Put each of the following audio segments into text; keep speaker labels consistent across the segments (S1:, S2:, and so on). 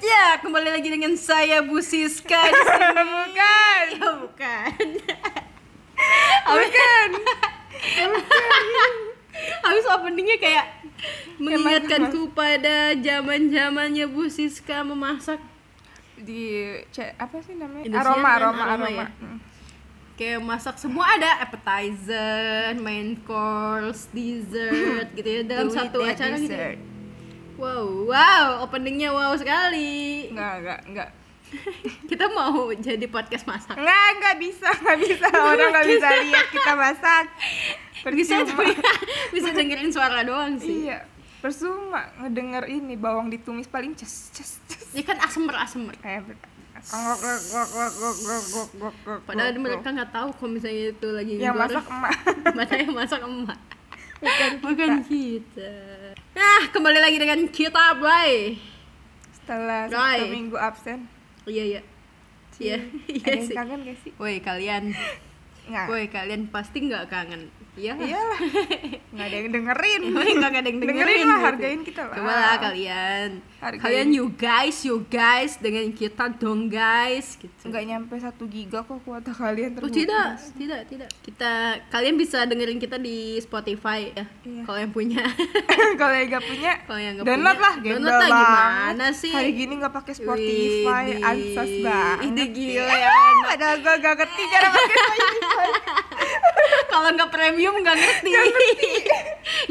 S1: Ya, kembali lagi dengan saya Bu Siska di sini.
S2: bukan
S1: Ya, bukan.
S2: bukan
S1: Habis openingnya kayak mengingatkanku pada zaman-zamannya Bu Siska memasak.
S2: di ce- apa sih namanya
S1: Indosiar
S2: aroma
S1: kan
S2: aroma
S1: aroma
S2: aroma,
S1: ya?
S2: Hmm.
S1: Kayak masak semua ada appetizer, main course, dessert gitu ya dalam
S2: Do it
S1: satu
S2: that
S1: acara gitu.
S2: dessert.
S1: Wow, wow, openingnya wow sekali.
S2: nggak nggak nggak
S1: Kita mau jadi podcast masak.
S2: nggak nggak bisa nggak bisa orang nggak bisa lihat kita masak
S1: Bisa ya.
S2: percuma
S1: bisa dengerin suara doang sih.
S2: iya percuma ngedenger ini bawang ditumis paling ces ces ces
S1: Ya kan asmer-asmer.
S2: kayak ber- ngok, ngok, ngok, ngok, ngok, ngok, ngok, ngok, ngok,
S1: Padahal
S2: ngok.
S1: mereka nggak tahu kalau misalnya itu lagi
S2: yang Ya,
S1: goreng.
S2: masak emak
S1: Mana yang masak emak? Bukan kita. Nah, kembali lagi dengan kita, Bray.
S2: setelah
S1: Bray.
S2: satu minggu absen
S1: Iya, iya. Iya, iya
S2: ada yang
S1: sih.
S2: kangen Ah. gak sih
S1: Woi, kalian.
S2: nggak
S1: Woi, kalian pasti nggak kangen. Iya. lah.
S2: iyalah nggak ada yang dengerin
S1: Woi, nggak ada Iya, yang dengerin.
S2: dengerin lah
S1: gitu.
S2: hargain kita lah
S1: Coba lah kalian.
S2: Hargain.
S1: Kalian you guys, you guys dengan kita dong, guys gitu.
S2: nggak nyampe satu giga kok kuota kalian
S1: Oh
S2: terus
S1: tidak, tidak, tidak. Kita kalian bisa dengerin kita di Spotify ya.
S2: Iya.
S1: Kalau yang punya.
S2: kalau yang nggak punya
S1: Kalau yang nggak
S2: download
S1: punya,
S2: lah gembel
S1: download lah,
S2: banget.
S1: gimana sih?
S2: hari gini nggak pakai Spotify
S1: Widih.
S2: ansas banget Eh,
S1: Ide gila ya,
S2: padahal gue gak ngerti cara pakai
S1: Kalau nggak premium nggak ngerti.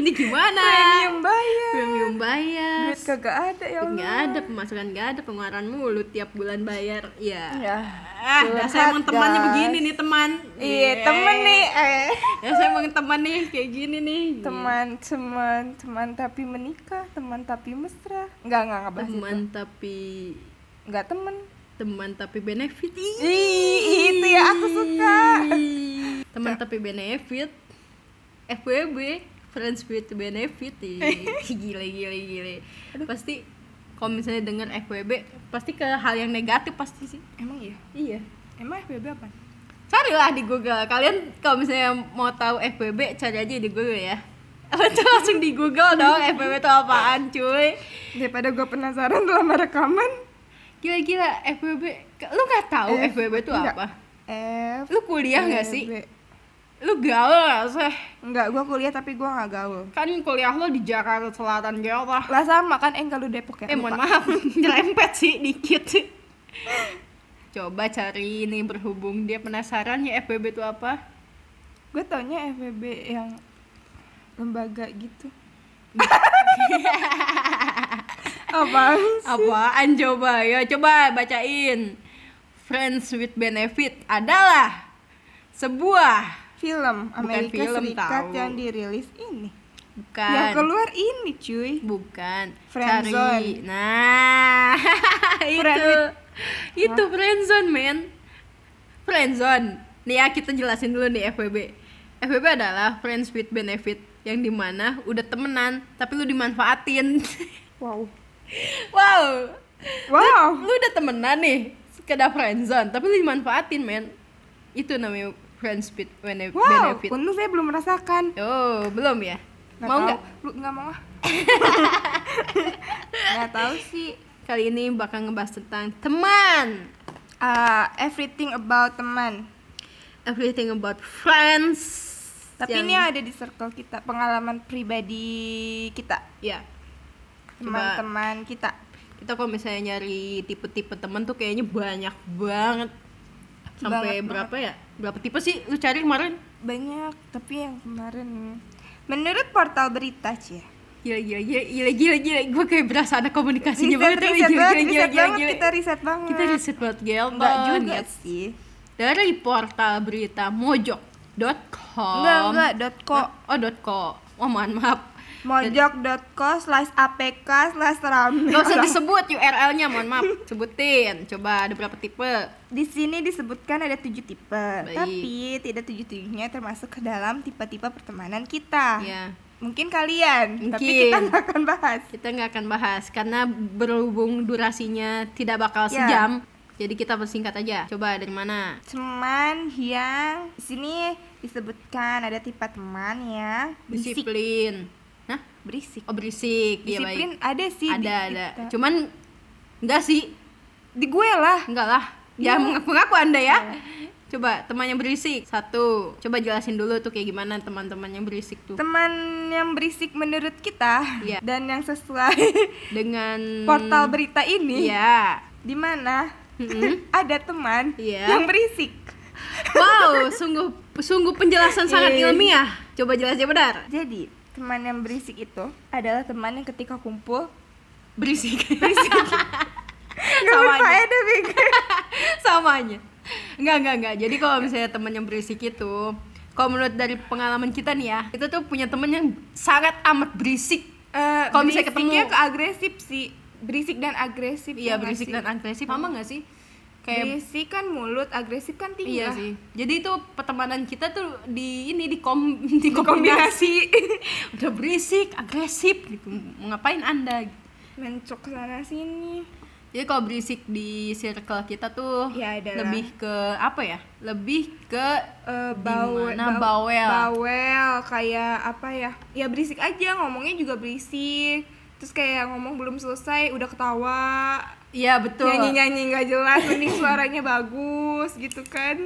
S1: Ini gimana?
S2: premium bayar
S1: Premium bayar.
S2: duit kagak ada ya Allah
S1: Nggak ada pemasukan, nggak ada pengeluaran mulu tiap bulan bayar. Iya.
S2: ya
S1: Ah, saya emang
S2: Curhat,
S1: temannya
S2: guys.
S1: begini nih teman.
S2: iya temen nih eh
S1: Ya saya emang teman nih kayak gini nih.
S2: teman teman teman tapi menikah teman tapi mesra nggak nggak nggak bahas itu
S1: Teman tapi
S2: nggak temen
S1: teman tapi benefit. Ih.
S2: Ih, itu ya aku suka
S1: teman tapi benefit FWB friends with benefit ih. gile gile gile pasti kalau misalnya denger FWB pasti ke hal yang negatif pasti sih
S2: emang iya
S1: iya
S2: emang FBB apa
S1: carilah di Google kalian kalau misalnya mau tahu FWB cari aja di Google ya Betul, langsung di Google dong FWB itu apaan cuy
S2: daripada gue penasaran lama rekaman
S1: gila-gila FWB lu nggak tahu
S2: Eh,
S1: FWB itu
S2: enggak. Eh,
S1: apa
S2: F
S1: lu kuliah nggak sih
S2: B.
S1: lu gaul nggak sih
S2: Enggak, gue kuliah tapi gue gak gaul
S1: kan kuliah lo di Jakarta Selatan Jawa
S2: Lah sama kan, eh enggak lu Depok ya?
S1: Eh mohon
S2: Lupa.
S1: maaf, nyerempet sih dikit Coba cari ini berhubung dia penasaran ya FBB itu apa
S2: Gue taunya FEB yang lembaga gitu Apaan?
S1: Apaan coba, ya coba bacain Friends with Benefit adalah sebuah
S2: Film Amerika
S1: film,
S2: Serikat
S1: tahu.
S2: yang dirilis ini
S1: Bukan
S2: Yang keluar ini cuy
S1: Bukan
S2: Friendzone.
S1: Cari Nah
S2: Friend
S1: Itu
S2: with-
S1: Itu friendzone men Friendzone Nih ya kita jelasin dulu nih FWB FWB adalah Friends with Benefit Yang dimana udah temenan Tapi lu dimanfaatin
S2: Wow
S1: Wow
S2: Wow
S1: Lu udah temenan nih Sekedar friendzone Tapi lu dimanfaatin men Itu namanya Friends with Bene-
S2: Wow,
S1: Benefit
S2: untung saya belum merasakan
S1: Oh belum ya
S2: Nggak
S1: Mau
S2: tahu.
S1: nggak?
S2: Lu nggak mau ah Nggak tahu sih
S1: Kali ini bakal ngebahas tentang teman
S2: Ah, Everything about teman
S1: everything about friends.
S2: Tapi
S1: yang-
S2: ini ada di circle kita, pengalaman pribadi kita,
S1: ya
S2: teman-teman kita.
S1: kita kalau misalnya nyari tipe-tipe teman tuh kayaknya banyak banget. Sampai
S2: Banget
S1: berapa ya? Berapa tipe sih lu cari kemarin?
S2: Banyak, tapi yang kemarin menurut portal berita sih ya.
S1: Gila gila gila gila gila, gila. gue kayak berasa anak komunikasinya banget tapi
S2: riset
S1: gila,
S2: banget,
S1: gila,
S2: riset
S1: gila,
S2: banget,
S1: gila.
S2: kita riset banget.
S1: Kita riset banget gel
S2: Enggak
S1: banget.
S2: juga sih.
S1: Dari portal berita mojok.com.
S2: Enggak, enggak, dot co.
S1: Oh, dot .co. Oh, mohon maaf.
S2: Mojok.co slash apk slash rame.
S1: Gak usah disebut URL-nya, mohon maaf. Sebutin. Coba ada berapa tipe?
S2: Di sini disebutkan ada tujuh tipe,
S1: Baik.
S2: tapi tidak tujuh-tujuhnya termasuk ke dalam tipe-tipe pertemanan kita.
S1: Ya,
S2: Mungkin kalian, tapi
S1: Mungkin.
S2: kita nggak akan bahas.
S1: kita nggak akan bahas karena berhubung durasinya tidak bakal
S2: Ya.
S1: sejam. Jadi kita persingkat aja. Coba dari mana?
S2: Teman yang di sini disebutkan ada tipe teman yang berisik.
S1: Disiplin. Nah,
S2: Berisik.
S1: oh berisik. Iya,
S2: Disiplin
S1: baik.
S2: ada sih di
S1: Ada ada.
S2: kita.
S1: Cuman enggak sih.
S2: Di gue lah.
S1: Enggak lah.
S2: Iya.
S1: Jangan mengaku-ngaku Anda ya. Coba teman yang berisik. Satu. Coba jelasin dulu tuh kayak gimana teman-teman yang berisik tuh.
S2: Teman yang berisik menurut kita
S1: Iya.
S2: dan yang sesuai
S1: Dengan
S2: portal berita ini
S1: Iya.
S2: di mana
S1: Mm-mm.
S2: ada teman
S1: Iya.
S2: yang berisik.
S1: Wow, sungguh sungguh penjelasan sangat
S2: Iya.
S1: ilmiah. Coba jelasnya benar.
S2: Jadi, teman yang berisik itu adalah teman yang ketika kumpul
S1: Berisik.
S2: Gak
S1: Sama aja.
S2: berfaedah, Eh, Bego.
S1: sama aja nggak nggak nggak jadi kalau misalnya temen yang berisik itu kalau menurut dari pengalaman kita nih ya itu tuh punya temen yang sangat amat berisik
S2: Eh,
S1: Kalau misalnya
S2: berisiknya
S1: ketemu-
S2: ke agresif sih berisik dan agresif ya
S1: iya
S2: nggak
S1: berisik
S2: sih?
S1: dan agresif sama nggak sih kayak
S2: berisik kan mulut agresif kan
S1: iya
S2: tinggal
S1: sih jadi itu pertemanan kita tuh di ini di kom di
S2: kombinasi
S1: udah berisik agresif gitu mau ngapain anda
S2: mencok sana sini
S1: jadi kalau berisik di circle kita tuh
S2: Ya, adalah.
S1: lebih ke apa ya lebih ke
S2: Eh, bawe-
S1: Dimana
S2: ba-
S1: bawel?
S2: bawel, kayak apa ya ya berisik aja ngomongnya juga berisik terus kayak ngomong belum selesai udah ketawa
S1: Iya betul.
S2: nyanyi nyanyi nggak jelas mending suaranya bagus gitu kan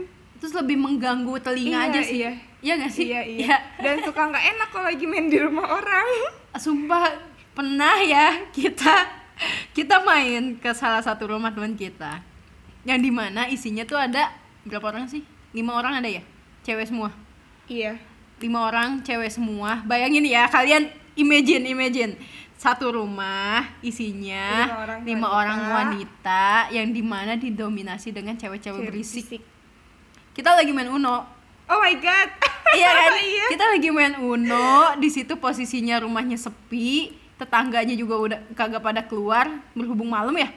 S1: terus lebih mengganggu telinga
S2: Iya,
S1: aja sih
S2: iya.
S1: iya nggak sih
S2: iya iya dan suka nggak enak kalau lagi main di rumah orang
S1: sumpah pernah ya kita kita main ke salah satu rumah teman kita yang dimana isinya tuh ada berapa orang sih lima orang ada ya cewek semua
S2: iya
S1: lima orang cewek semua bayangin ya kalian imagine imagine satu rumah isinya
S2: Lima orang
S1: lima
S2: wanita.
S1: orang wanita yang dimana didominasi dengan cewek-cewek
S2: Cewek
S1: berisik kita lagi main uno
S2: Oh my god.
S1: iya kan?
S2: Iya.
S1: Kita lagi main Uno, di situ posisinya rumahnya sepi, tetangganya juga udah kagak pada keluar, berhubung malam ya.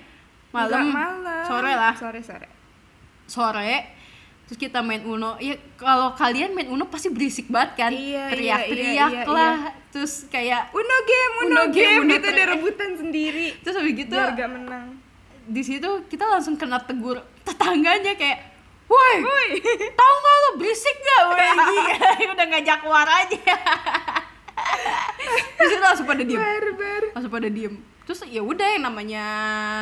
S2: Nggak
S1: Malam,
S2: malam.
S1: sore lah,
S2: Sore sore.
S1: sore. Terus kita main Uno. Ya kalau kalian main Uno pasti berisik banget kan?
S2: Iya, iya,
S1: Teriak-teriak
S2: iya, iya,
S1: lah. Terus kayak
S2: Uno game, Uno,
S1: Uno game,
S2: game,
S1: Uno
S2: gitu
S1: tre-
S2: ada rebutan sendiri.
S1: terus habis gitu
S2: Biar gak menang.
S1: di situ kita langsung kena tegur tetangganya kayak woi
S2: Woi.
S1: tahu nggak lo berisik gak woi Gila, udah ngajak keluar aja terus kita langsung pada diem
S2: Barbar.
S1: langsung pada diem terus ya udah yang namanya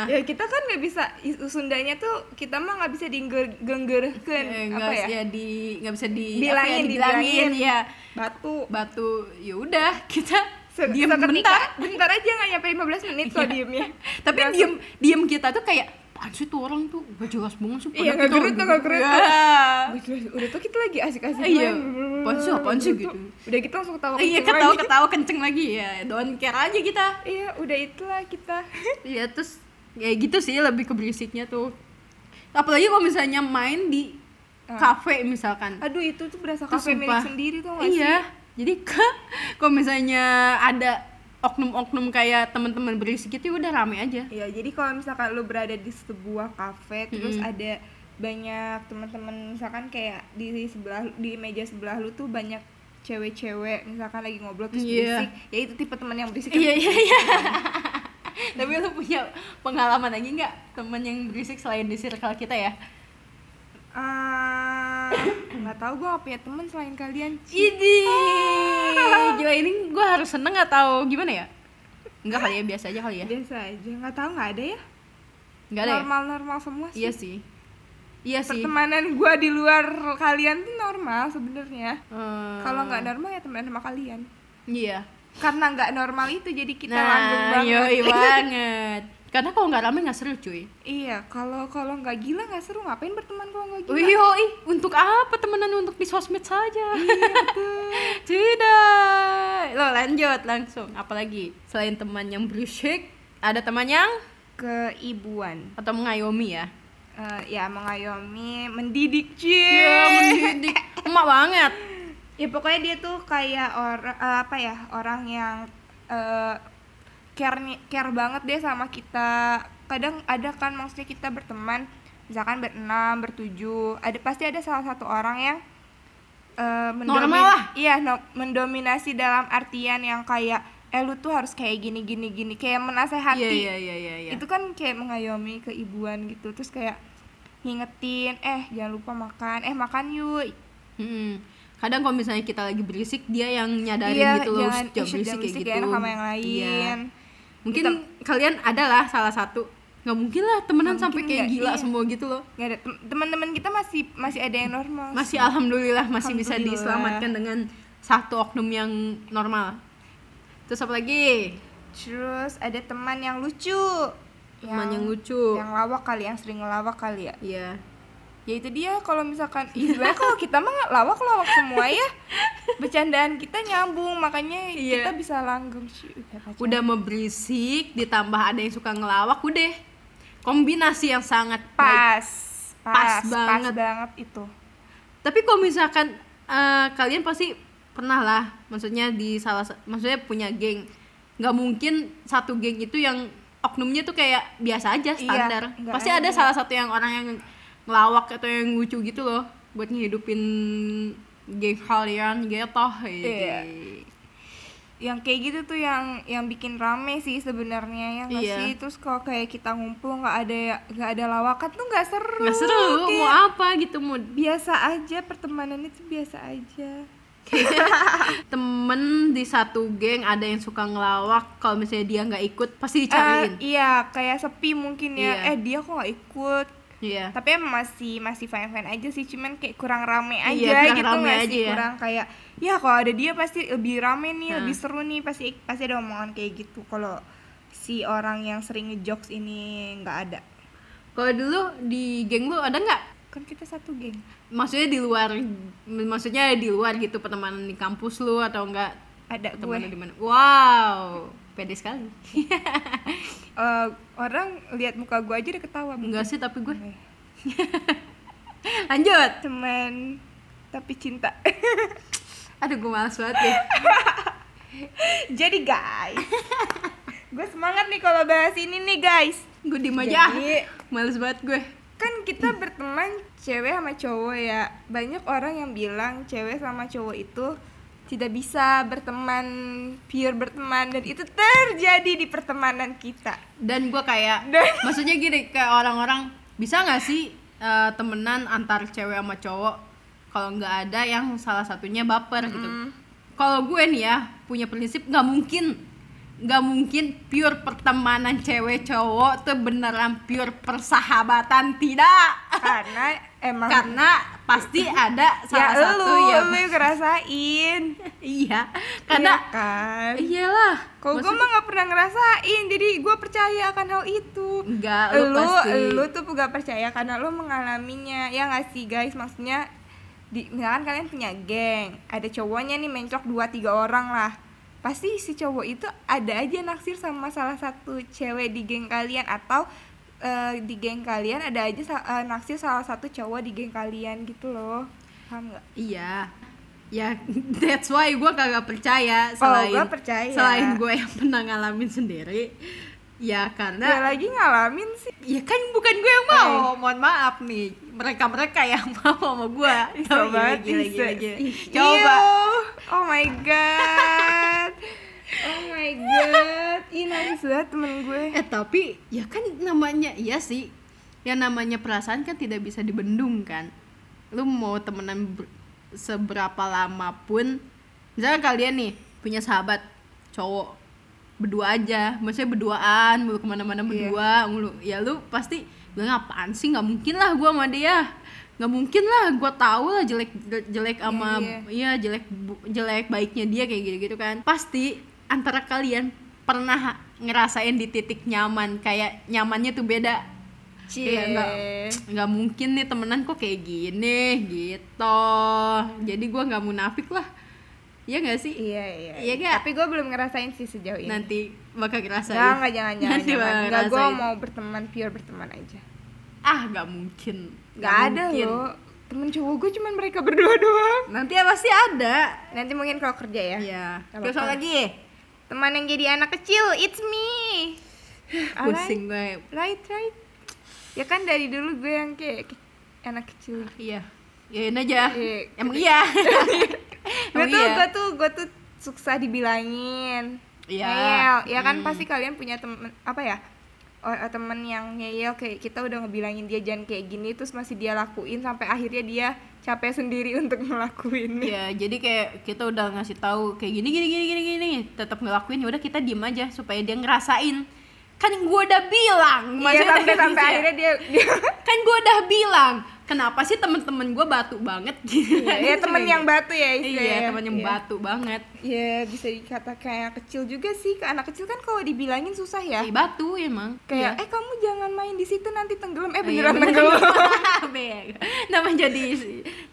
S1: Ah.
S2: Ya kita kan nggak bisa is- Sundanya tuh kita mah nggak bisa digenggerkan apa
S1: eh, nggak
S2: ya?
S1: ya? di nggak bisa di apa ya,
S2: Bilangin,
S1: dibilangin
S2: dibilangin.
S1: ya
S2: Batu.
S1: batu ya udah kita
S2: Se-
S1: diem Iya.
S2: seketika-
S1: bentar
S2: bentar aja nggak nyampe 15 menit kok diemnya.
S1: tapi diem diem kita tuh kayak apaan sih tuh orang tuh gak jelas banget sih
S2: Iya, nggak
S1: padahal kita
S2: gerut tuh,
S1: lagi-
S2: nggak gerut tuh.
S1: Ya.
S2: Wih, wih, Udah tuh kita lagi asik-asik
S1: Iya.
S2: main.
S1: Apaan sih, apaan sih, gitu.
S2: Udah kita langsung ketawa
S1: iya
S2: kenceng
S1: ketawa
S2: lagi.
S1: ketawa kenceng lagi ya don't care aja kita
S2: Iya, udah itulah kita.
S1: iya terus ya gitu sih lebih ke berisiknya tuh apalagi kalau misalnya main di kafe misalkan
S2: Ah. Aduh itu tuh berasa
S1: Itu
S2: kafe milik
S1: sumpah.
S2: sendiri tuh gak sih?
S1: iya jadi ke kalau misalnya ada oknum-oknum kayak teman-teman berisik itu ya udah rame aja
S2: Iya jadi kalau misalkan lu berada di sebuah kafe terus
S1: Mm-mm.
S2: ada banyak teman-teman misalkan kayak di sebelah di meja sebelah lu tuh banyak cewek-cewek misalkan lagi ngobrol terus
S1: Iya.
S2: berisik ya itu tipe teman yang berisik kan?
S1: iya iya iya tapi lu punya pengalaman lagi nggak temen yang berisik selain di circle kita ya
S2: Ah, nggak tahu gue gak punya teman selain kalian
S1: Idi, Ah. gila ini gue harus seneng atau gimana ya? Enggak kali ya biasa aja kali ya.
S2: biasa aja nggak tahu nggak ada ya
S1: Enggak ada. Ya?
S2: normal-normal semua sih
S1: Iya sih. Iya sih.
S2: pertemanan gue di luar kalian tuh normal sebenarnya
S1: Eh,
S2: kalau nggak normal ya teman sama kalian
S1: Iya.
S2: karena nggak normal itu jadi kita langgeng
S1: Nah,
S2: banget
S1: yoi banget. Karena kalau nggak rame nggak seru cuy.
S2: iya kalau kalau nggak gila nggak seru ngapain berteman kalau nggak gila
S1: Wih, yoi, untuk apa temenan untuk di sosmed saja?
S2: Iya,
S1: Tidak. Lo lanjut langsung. Apalagi selain teman yang berisik, ada teman yang
S2: keibuan
S1: atau mengayomi ya?
S2: Eh, ya mengayomi mendidik cie
S1: Iya, mendidik. Emak banget.
S2: ya pokoknya dia tuh kayak orang apa ya orang yang eh care ni- care banget deh sama kita kadang ada kan maksudnya kita berteman misalkan berenam bertujuh ada pasti ada salah satu orang yang eh mendomin-
S1: Normal lah.
S2: iya no- mendominasi dalam artian yang kayak eh lu tuh harus kayak gini gini gini kayak menasehati
S1: Iya, iya, iya, iya, iya.
S2: itu kan kayak mengayomi keibuan gitu terus kayak ngingetin eh jangan lupa makan eh makan yuk
S1: Mm-mm. Hmm. kadang kalau misalnya kita lagi berisik dia yang nyadarin
S2: Iya,
S1: gitu loh
S2: jangan-
S1: "Shh,
S2: ih,
S1: jangan
S2: shh,
S1: berisik
S2: jangan
S1: kayak
S2: berisik,
S1: gitu
S2: gak enak sama yang
S1: Iya.
S2: lain.
S1: mungkin
S2: Kita-
S1: kalian adalah salah satu nggak mungkin lah temenan
S2: Nggak
S1: sampai
S2: mungkin
S1: kayak
S2: nggak,
S1: gila
S2: iya.
S1: semua gitu loh
S2: nggak ada tem- teman-teman kita masih masih ada yang normal
S1: masih alhamdulillah masih bisa
S2: Alhamdulillah.
S1: diselamatkan dengan satu oknum yang normal terus apa lagi
S2: terus ada teman yang lucu
S1: teman yang lucu
S2: yang lawak kali yang sering ngelawak kali ya
S1: iya
S2: ya itu dia kalau misalkan Ih, sebenarnya kalau kita mah nggak lawak lawak semua ya bercandaan kita nyambung makanya
S1: Iya.
S2: kita bisa langgeng sih udah kacau.
S1: udah mau berisik ditambah ada yang suka ngelawak udah kombinasi yang sangat baik
S2: pas
S1: Pas
S2: pas pas
S1: banget.
S2: banget itu
S1: tapi kalau misalkan eh, kalian pasti pernah lah maksudnya di salah sa- maksudnya punya geng nggak mungkin satu geng itu yang oknumnya tuh kayak biasa aja
S2: Iya,
S1: standar
S2: nggak
S1: pasti ada
S2: ada.
S1: salah satu yang orang yang ngelawak atau yang lucu gitu loh buat ngehidupin geng kalian gitu
S2: Iya. yang kayak gitu tuh yang yang bikin rame sih sebenarnya ya nggak
S1: Iya.
S2: sih terus kalau kayak kita ngumpul nggak ada ya, nggak ada lawakan tuh nggak seru
S1: nggak seru
S2: Kayak
S1: mau apa gitu mau
S2: biasa aja pertemanan itu biasa aja
S1: temen di satu geng ada yang suka ngelawak kalau misalnya dia nggak ikut
S2: Eh,
S1: pasti dicariin
S2: iya kayak sepi mungkin ya
S1: Iya.
S2: eh dia kok nggak ikut
S1: iya
S2: tapi emang masih masih fine fine aja sih cuman kayak kurang rame aja
S1: Iya, kurang
S2: gitu
S1: rame
S2: nggak
S1: aja
S2: sih
S1: ya.
S2: kurang kayak ya kalau ada dia pasti lebih rame nih
S1: Nah.
S2: lebih seru nih pasti pasti ada omongan kayak gitu kalau si orang yang sering ngejokes ini nggak ada
S1: kalau dulu di geng lu ada nggak
S2: kan kita satu geng
S1: maksudnya di luar maksudnya di luar gitu pertemanan di kampus lu atau enggak
S2: ada
S1: pertemanan
S2: gue
S1: di mana wow pede sekali
S2: Eh, orang lihat muka gue aja udah ketawa
S1: enggak sih tapi gue
S2: Eh,
S1: lanjut
S2: teman tapi cinta
S1: aduh gue males banget ya. deh
S2: jadi guys gue semangat nih kalau bahas ini nih guys
S1: gue diem aja
S2: Jadi-
S1: males banget gue
S2: kan kita berteman cewek sama cowok ya banyak orang yang bilang cewek sama cowok itu tidak bisa berteman pure berteman dan itu terjadi di pertemanan kita
S1: dan gue kayak
S2: Dan-
S1: maksudnya gini kayak orang-orang bisa nggak sih eh, temenan antar cewek sama cowok kalau nggak ada yang salah satunya baper gitu kalau gue nih ya punya prinsip nggak mungkin nggak mungkin pure pertemanan cewek cowok tuh beneran pure persahabatan tidak
S2: karena emang
S1: karena pasti ada salah
S2: ya
S1: satu
S2: lu
S1: yang
S2: lu yang ngerasain Iya
S1: iya karena
S2: kan
S1: iyalah
S2: kalau gue mah gak pernah ngerasain jadi gue percaya akan hal itu
S1: enggak Ah, lu,
S2: lu
S1: pasti
S2: lu tuh gak percaya karena lu mengalaminya ya nggak sih guys maksudnya di misalkan kalian punya geng ada cowoknya nih mencok dua tiga orang lah pasti si cowok itu ada aja naksir sama salah satu cewek di geng kalian atau eh, di geng kalian ada aja sa- eh, naksir salah satu cowok di geng kalian gitu loh paham nggak
S1: Iya. Ya, that's why gue kagak Oh, percaya selain
S2: gua percaya.
S1: selain gue yang pernah ngalamin sendiri. Ya
S2: ya
S1: karena
S2: lagi ngalamin sih
S1: ya kan bukan gue yang mau. Oh, Mohon maaf nih, mereka-mereka yang mau sama Oh, gue.
S2: Bisa banget, bisa. ya. Ih,
S1: Coba.
S2: iyo. oh my god oh my god ih nangis banget temen gue
S1: Eh tapi ya kan namanya iya sih. Yang namanya perasaan kan tidak bisa dibendung kan. Lu mau temenan ber- seberapa lama pun misalnya kalian nih punya sahabat cowok berdua aja, maksudnya berduaan, mulu kemana-mana berdua, mulu ya lu pasti bilang apaan sih nggak mungkin lah gue sama dia, nggak mungkin lah gue tahu lah jelek jelek
S2: Iya,
S1: sama
S2: iya.
S1: Iya jelek bu- jelek baiknya dia kayak gitu gitu kan pasti antara kalian pernah ngerasain di titik nyaman kayak nyamannya tuh beda Iya, enggak. nggak mungkin nih temenan kok kayak gini gitu jadi gua nggak munafik lah Iya nggak sih
S2: Hmm. Iya iya.
S1: Iya
S2: iya.
S1: nggak?
S2: Tapi gue belum ngerasain sih sejauh ini.
S1: nanti bakal ngerasain
S2: Nggak, nggak, jangan jangan.
S1: nanti
S2: jangan.
S1: bakal
S2: Nggak, gue
S1: ngerasain.
S2: mau berteman pure berteman aja.
S1: ah nggak mungkin
S2: Gak ada
S1: mungkin.
S2: loh. Temen cowok gue cuman mereka berdua doang.
S1: nanti ya pasti ada
S2: Nanti mungkin kalau kerja ya.
S1: ya
S2: Nggak
S1: terus
S2: apa-apa.
S1: apa lagi
S2: Teman yang jadi anak kecil, it's me. Alright,
S1: pusing gue
S2: right, right. Ya kan dari dulu gue yang kayak kayak anak kecil.
S1: iya yain aja
S2: Iya.
S1: emang iya
S2: Gue
S1: Emang
S2: tuh,
S1: iya.
S2: gue tuh, gue tuh susah dibilangin.
S1: Iya.
S2: Ngeyel. Ya kan
S1: Hmm.
S2: pasti kalian punya temen apa ya? oh, eh, temen yang ngeyel kayak kita udah ngebilangin dia jangan kayak gini terus masih dia lakuin sampai akhirnya dia capek sendiri untuk ngelakuin
S1: ya jadi kayak kita udah ngasih tahu kayak gini gini gini gini gini tetap ngelakuin ya udah kita diem aja supaya dia ngerasain kan gue udah bilang
S2: Iya
S1: maksudnya
S2: sampai sampai
S1: kayak gitu ya.
S2: akhirnya dia, dia
S1: kan gue udah bilang kenapa sih temen-temen gue batu banget
S2: ya temen yang batu ya istilahnya.
S1: iya temen yang
S2: Iya.
S1: batu banget
S2: Ya bisa dikatakan anak kecil juga sih ke anak kecil kan kalau dibilangin susah ya.
S1: Ih, batu emang
S2: Kayak eh kamu jangan main di situ nanti tenggelam. Eh
S1: Iya.
S2: beneran
S1: Iya,
S2: tenggelam.
S1: Beg. nama jadi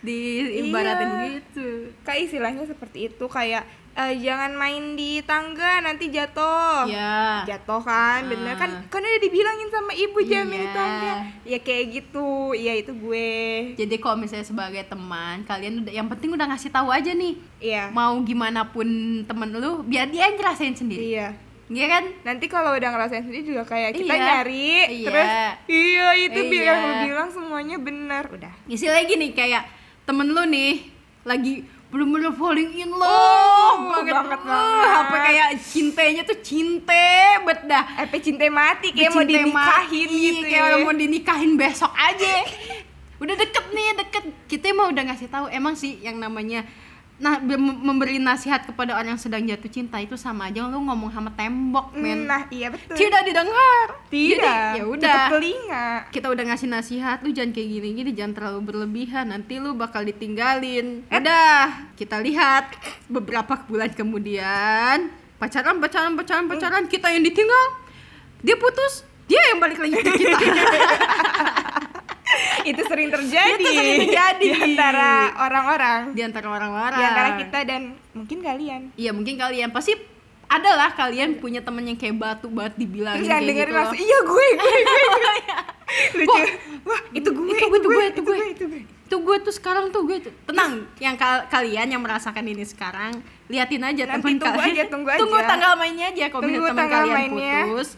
S1: diibaratin
S2: Iya.
S1: gitu
S2: Kayak istilahnya seperti itu kayak eh, jangan main di tangga nanti jatuh.
S1: ya
S2: Jatuh kan, bener kan? Kan udah dibilangin sama ibu jangan main di
S1: Iya.
S2: tangga. Ya kayak gitu. Iya itu gue.
S1: jadi kalau misalnya sebagai teman kalian udah yang penting udah ngasih tahu aja nih
S2: Iya.
S1: mau gimana pun temen lu biar dia yang ngerasain sendiri
S2: Iya.
S1: iya kan
S2: Nanti kalau udah ngerasain sendiri juga kayak kita
S1: Iya.
S2: nyari
S1: Iya.
S2: terus iya itu
S1: Iya.
S2: bilang bilang semuanya benar udah.
S1: isi lagi nih kayak temen lu nih lagi bener-bener falling in love
S2: Oh, banget
S1: Uh,
S2: banget.
S1: apa kayak cintanya tuh cinte bet dah
S2: apa Eh, cinta mati kayak mau
S1: Cinta
S2: dinikahin
S1: mati,
S2: gitu
S1: kayak
S2: ya.
S1: orang mau dinikahin besok aja udah deket nih deket kita emang udah ngasih tahu emang sih yang namanya nah be- memberi nasihat kepada orang yang sedang jatuh cinta itu sama aja lu ngomong sama tembok men
S2: nah iya betul
S1: tidak didengar
S2: tidak
S1: Jadi, ya
S2: tutup
S1: udah
S2: telinga
S1: kita udah ngasih nasihat lu jangan kayak gini gini jangan terlalu berlebihan nanti lu bakal ditinggalin
S2: Eh.
S1: udah kita lihat beberapa bulan kemudian pacaran pacaran pacaran pacaran kita yang ditinggal dia putus dia yang balik lagi ke kita
S2: itu sering terjadi
S1: Itu sering terjadi.
S2: di antara orang-orang
S1: di antara orang-orang
S2: di antara kita dan mungkin kalian
S1: iya mungkin kalian pasti adalah kalian punya temen yang kayak batu banget dibilangin
S2: terus jangan
S1: kayak
S2: dengerin
S1: gitu
S2: langsung iya gue gue gue lucu wah itu gue
S1: itu gue, itu gue, itu gue.
S2: itu gue
S1: tuh gue tuh sekarang tuh gue tuh tenang yang kal- kalian yang merasakan ini sekarang liatin aja
S2: Nanti
S1: teman
S2: tunggu
S1: kalian
S2: aja, tunggu aja.
S1: tunggu tanggal mainnya aja kalau
S2: Tunggu
S1: misalnya teman
S2: tanggal
S1: kalian
S2: mainnya.
S1: putus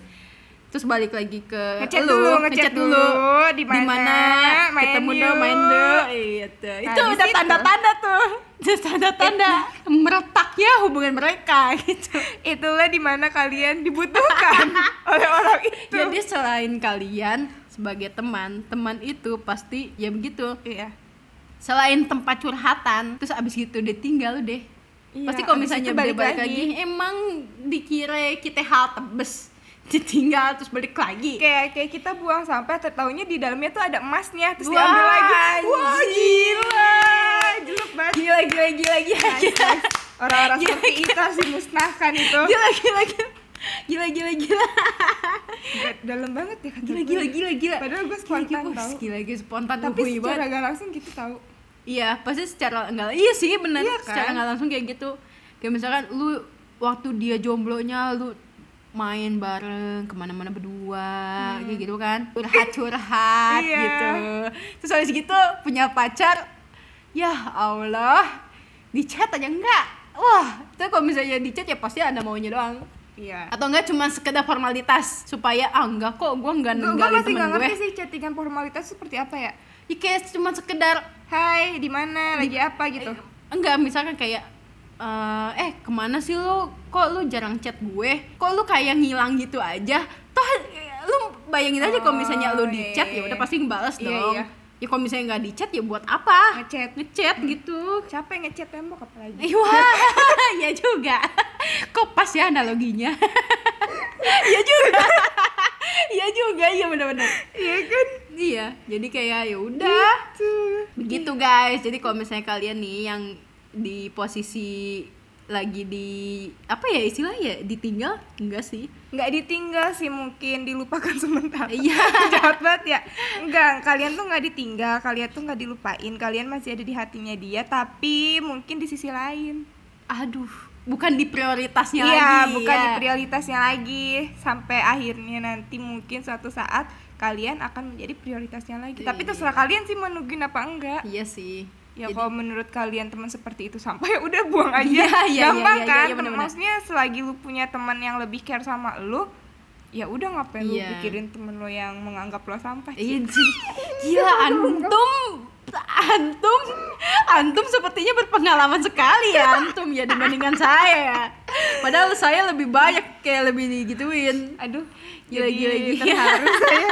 S1: terus balik lagi ke
S2: Ngechat
S1: lu,
S2: dulu, ngechat dulu. Di mana,
S1: Dimana,
S2: main
S1: ketemu dong
S2: yuk.
S1: main dong Gitu.
S2: Nah, di
S1: itu udah
S2: situ. Iya.
S1: tanda-tanda tuh itu tanda-tanda meretaknya hubungan mereka gitu
S2: itulah dimana kalian dibutuhkan oleh orang itu
S1: jadi selain kalian sebagai teman teman itu pasti ya begitu
S2: iya
S1: selain tempat curhatan terus abis gitu ditinggal deh
S2: Iya,
S1: pasti kalau
S2: abis
S1: misalnya
S2: itu
S1: balik,
S2: balik
S1: balik lagi.
S2: lagi.
S1: emang dikira kita hal tebes ditinggal terus balik lagi
S2: kayak kayak kita buang sampah tertaunya di dalamnya tuh ada emasnya terus
S1: Wah,
S2: diambil lagi wah
S1: anjing.
S2: gila jelek banget
S1: gila gila gila gila gila
S2: orang-orang
S1: Iya,
S2: seperti itu harus dimusnahkan itu
S1: gila gila gila gila gila
S2: Gak dalam banget ya kata
S1: gila
S2: gue.
S1: gila gila gila
S2: padahal gue
S1: Gila,
S2: spontan
S1: gila,
S2: tau
S1: gila gila spontan
S2: tapi
S1: uhuy
S2: secara
S1: banget
S2: gak langsung gitu tahu
S1: iya pasti secara enggak iya sih benar
S2: Iya kan?
S1: secara nggak langsung kayak gitu kayak misalkan lu waktu dia jomblonya lu main bareng kemana-mana berdua kayak gitu kan curhat-curhat
S2: Hmm. Iya.
S1: gitu terus habis gitu punya pacar ya Allah di chat aja enggak wah itu kalau misalnya di chat ya pasti ada maunya doang
S2: iya
S1: atau enggak cuma sekedar formalitas supaya ah enggak kok gua enggak
S2: gue
S1: ninggalin
S2: masih
S1: temen
S2: gak
S1: gue
S2: ngerti sih chattingan formalitas seperti apa ya
S1: ya kayak cuma sekedar
S2: hai di mana lagi apa gitu
S1: Eh, enggak misalkan kayak eh, eh kemana sih lu kok lu jarang chat gue kok lu kayak ngilang gitu aja toh eh, lu bayangin aja kalau misalnya lu
S2: Oh,
S1: di
S2: iya,
S1: chat
S2: iya,
S1: ya udah
S2: iya.
S1: pasti ngebales
S2: Iya,
S1: dong
S2: iya.
S1: ya kalau misalnya nggak di chat ya buat apa
S2: ngechat Hmm. Iya.
S1: ngechat gitu
S2: capek ngechat tembok apalagi
S1: Ih, wah ya juga kok pas ya analoginya ya juga ya juga iya benar-benar
S2: iya kan
S1: iya jadi kayak ya
S2: Iya.
S1: udah
S2: tuh
S1: begitu Gitu, guys jadi kalau misalnya kalian nih yang di posisi lagi di apa ya istilahnya ditinggal enggak sih
S2: nggak ditinggal sih mungkin dilupakan sementara
S1: Iya.
S2: jahat banget ya enggak kalian tuh nggak ditinggal kalian tuh nggak dilupain kalian masih ada di hatinya dia tapi mungkin di sisi lain
S1: aduh bukan di prioritasnya
S2: iya
S1: lagi
S2: bukan
S1: ya.
S2: di prioritasnya lagi sampai akhirnya nanti mungkin suatu saat kalian akan menjadi prioritasnya lagi tapi terserah kalian sih menungguin apa enggak
S1: iya sih
S2: ya kalau menurut kalian teman seperti itu sampai udah buang aja
S1: Iya, iya,
S2: gampang
S1: iya, iya,
S2: kan
S1: iya, bener-bener.
S2: maksudnya selagi lu punya teman yang lebih care sama lu ya udah ngapain lu
S1: Iya.
S2: pikirin temen lu yang menganggap lo sampah
S1: iya sih gila antum antum antum sepertinya berpengalaman sekali ya antum ya dibandingkan saya Padahal saya lebih banyak kayak lebih digituin.
S2: Aduh,
S1: Gila,
S2: jadi
S1: gila, gila.
S2: terharu saya.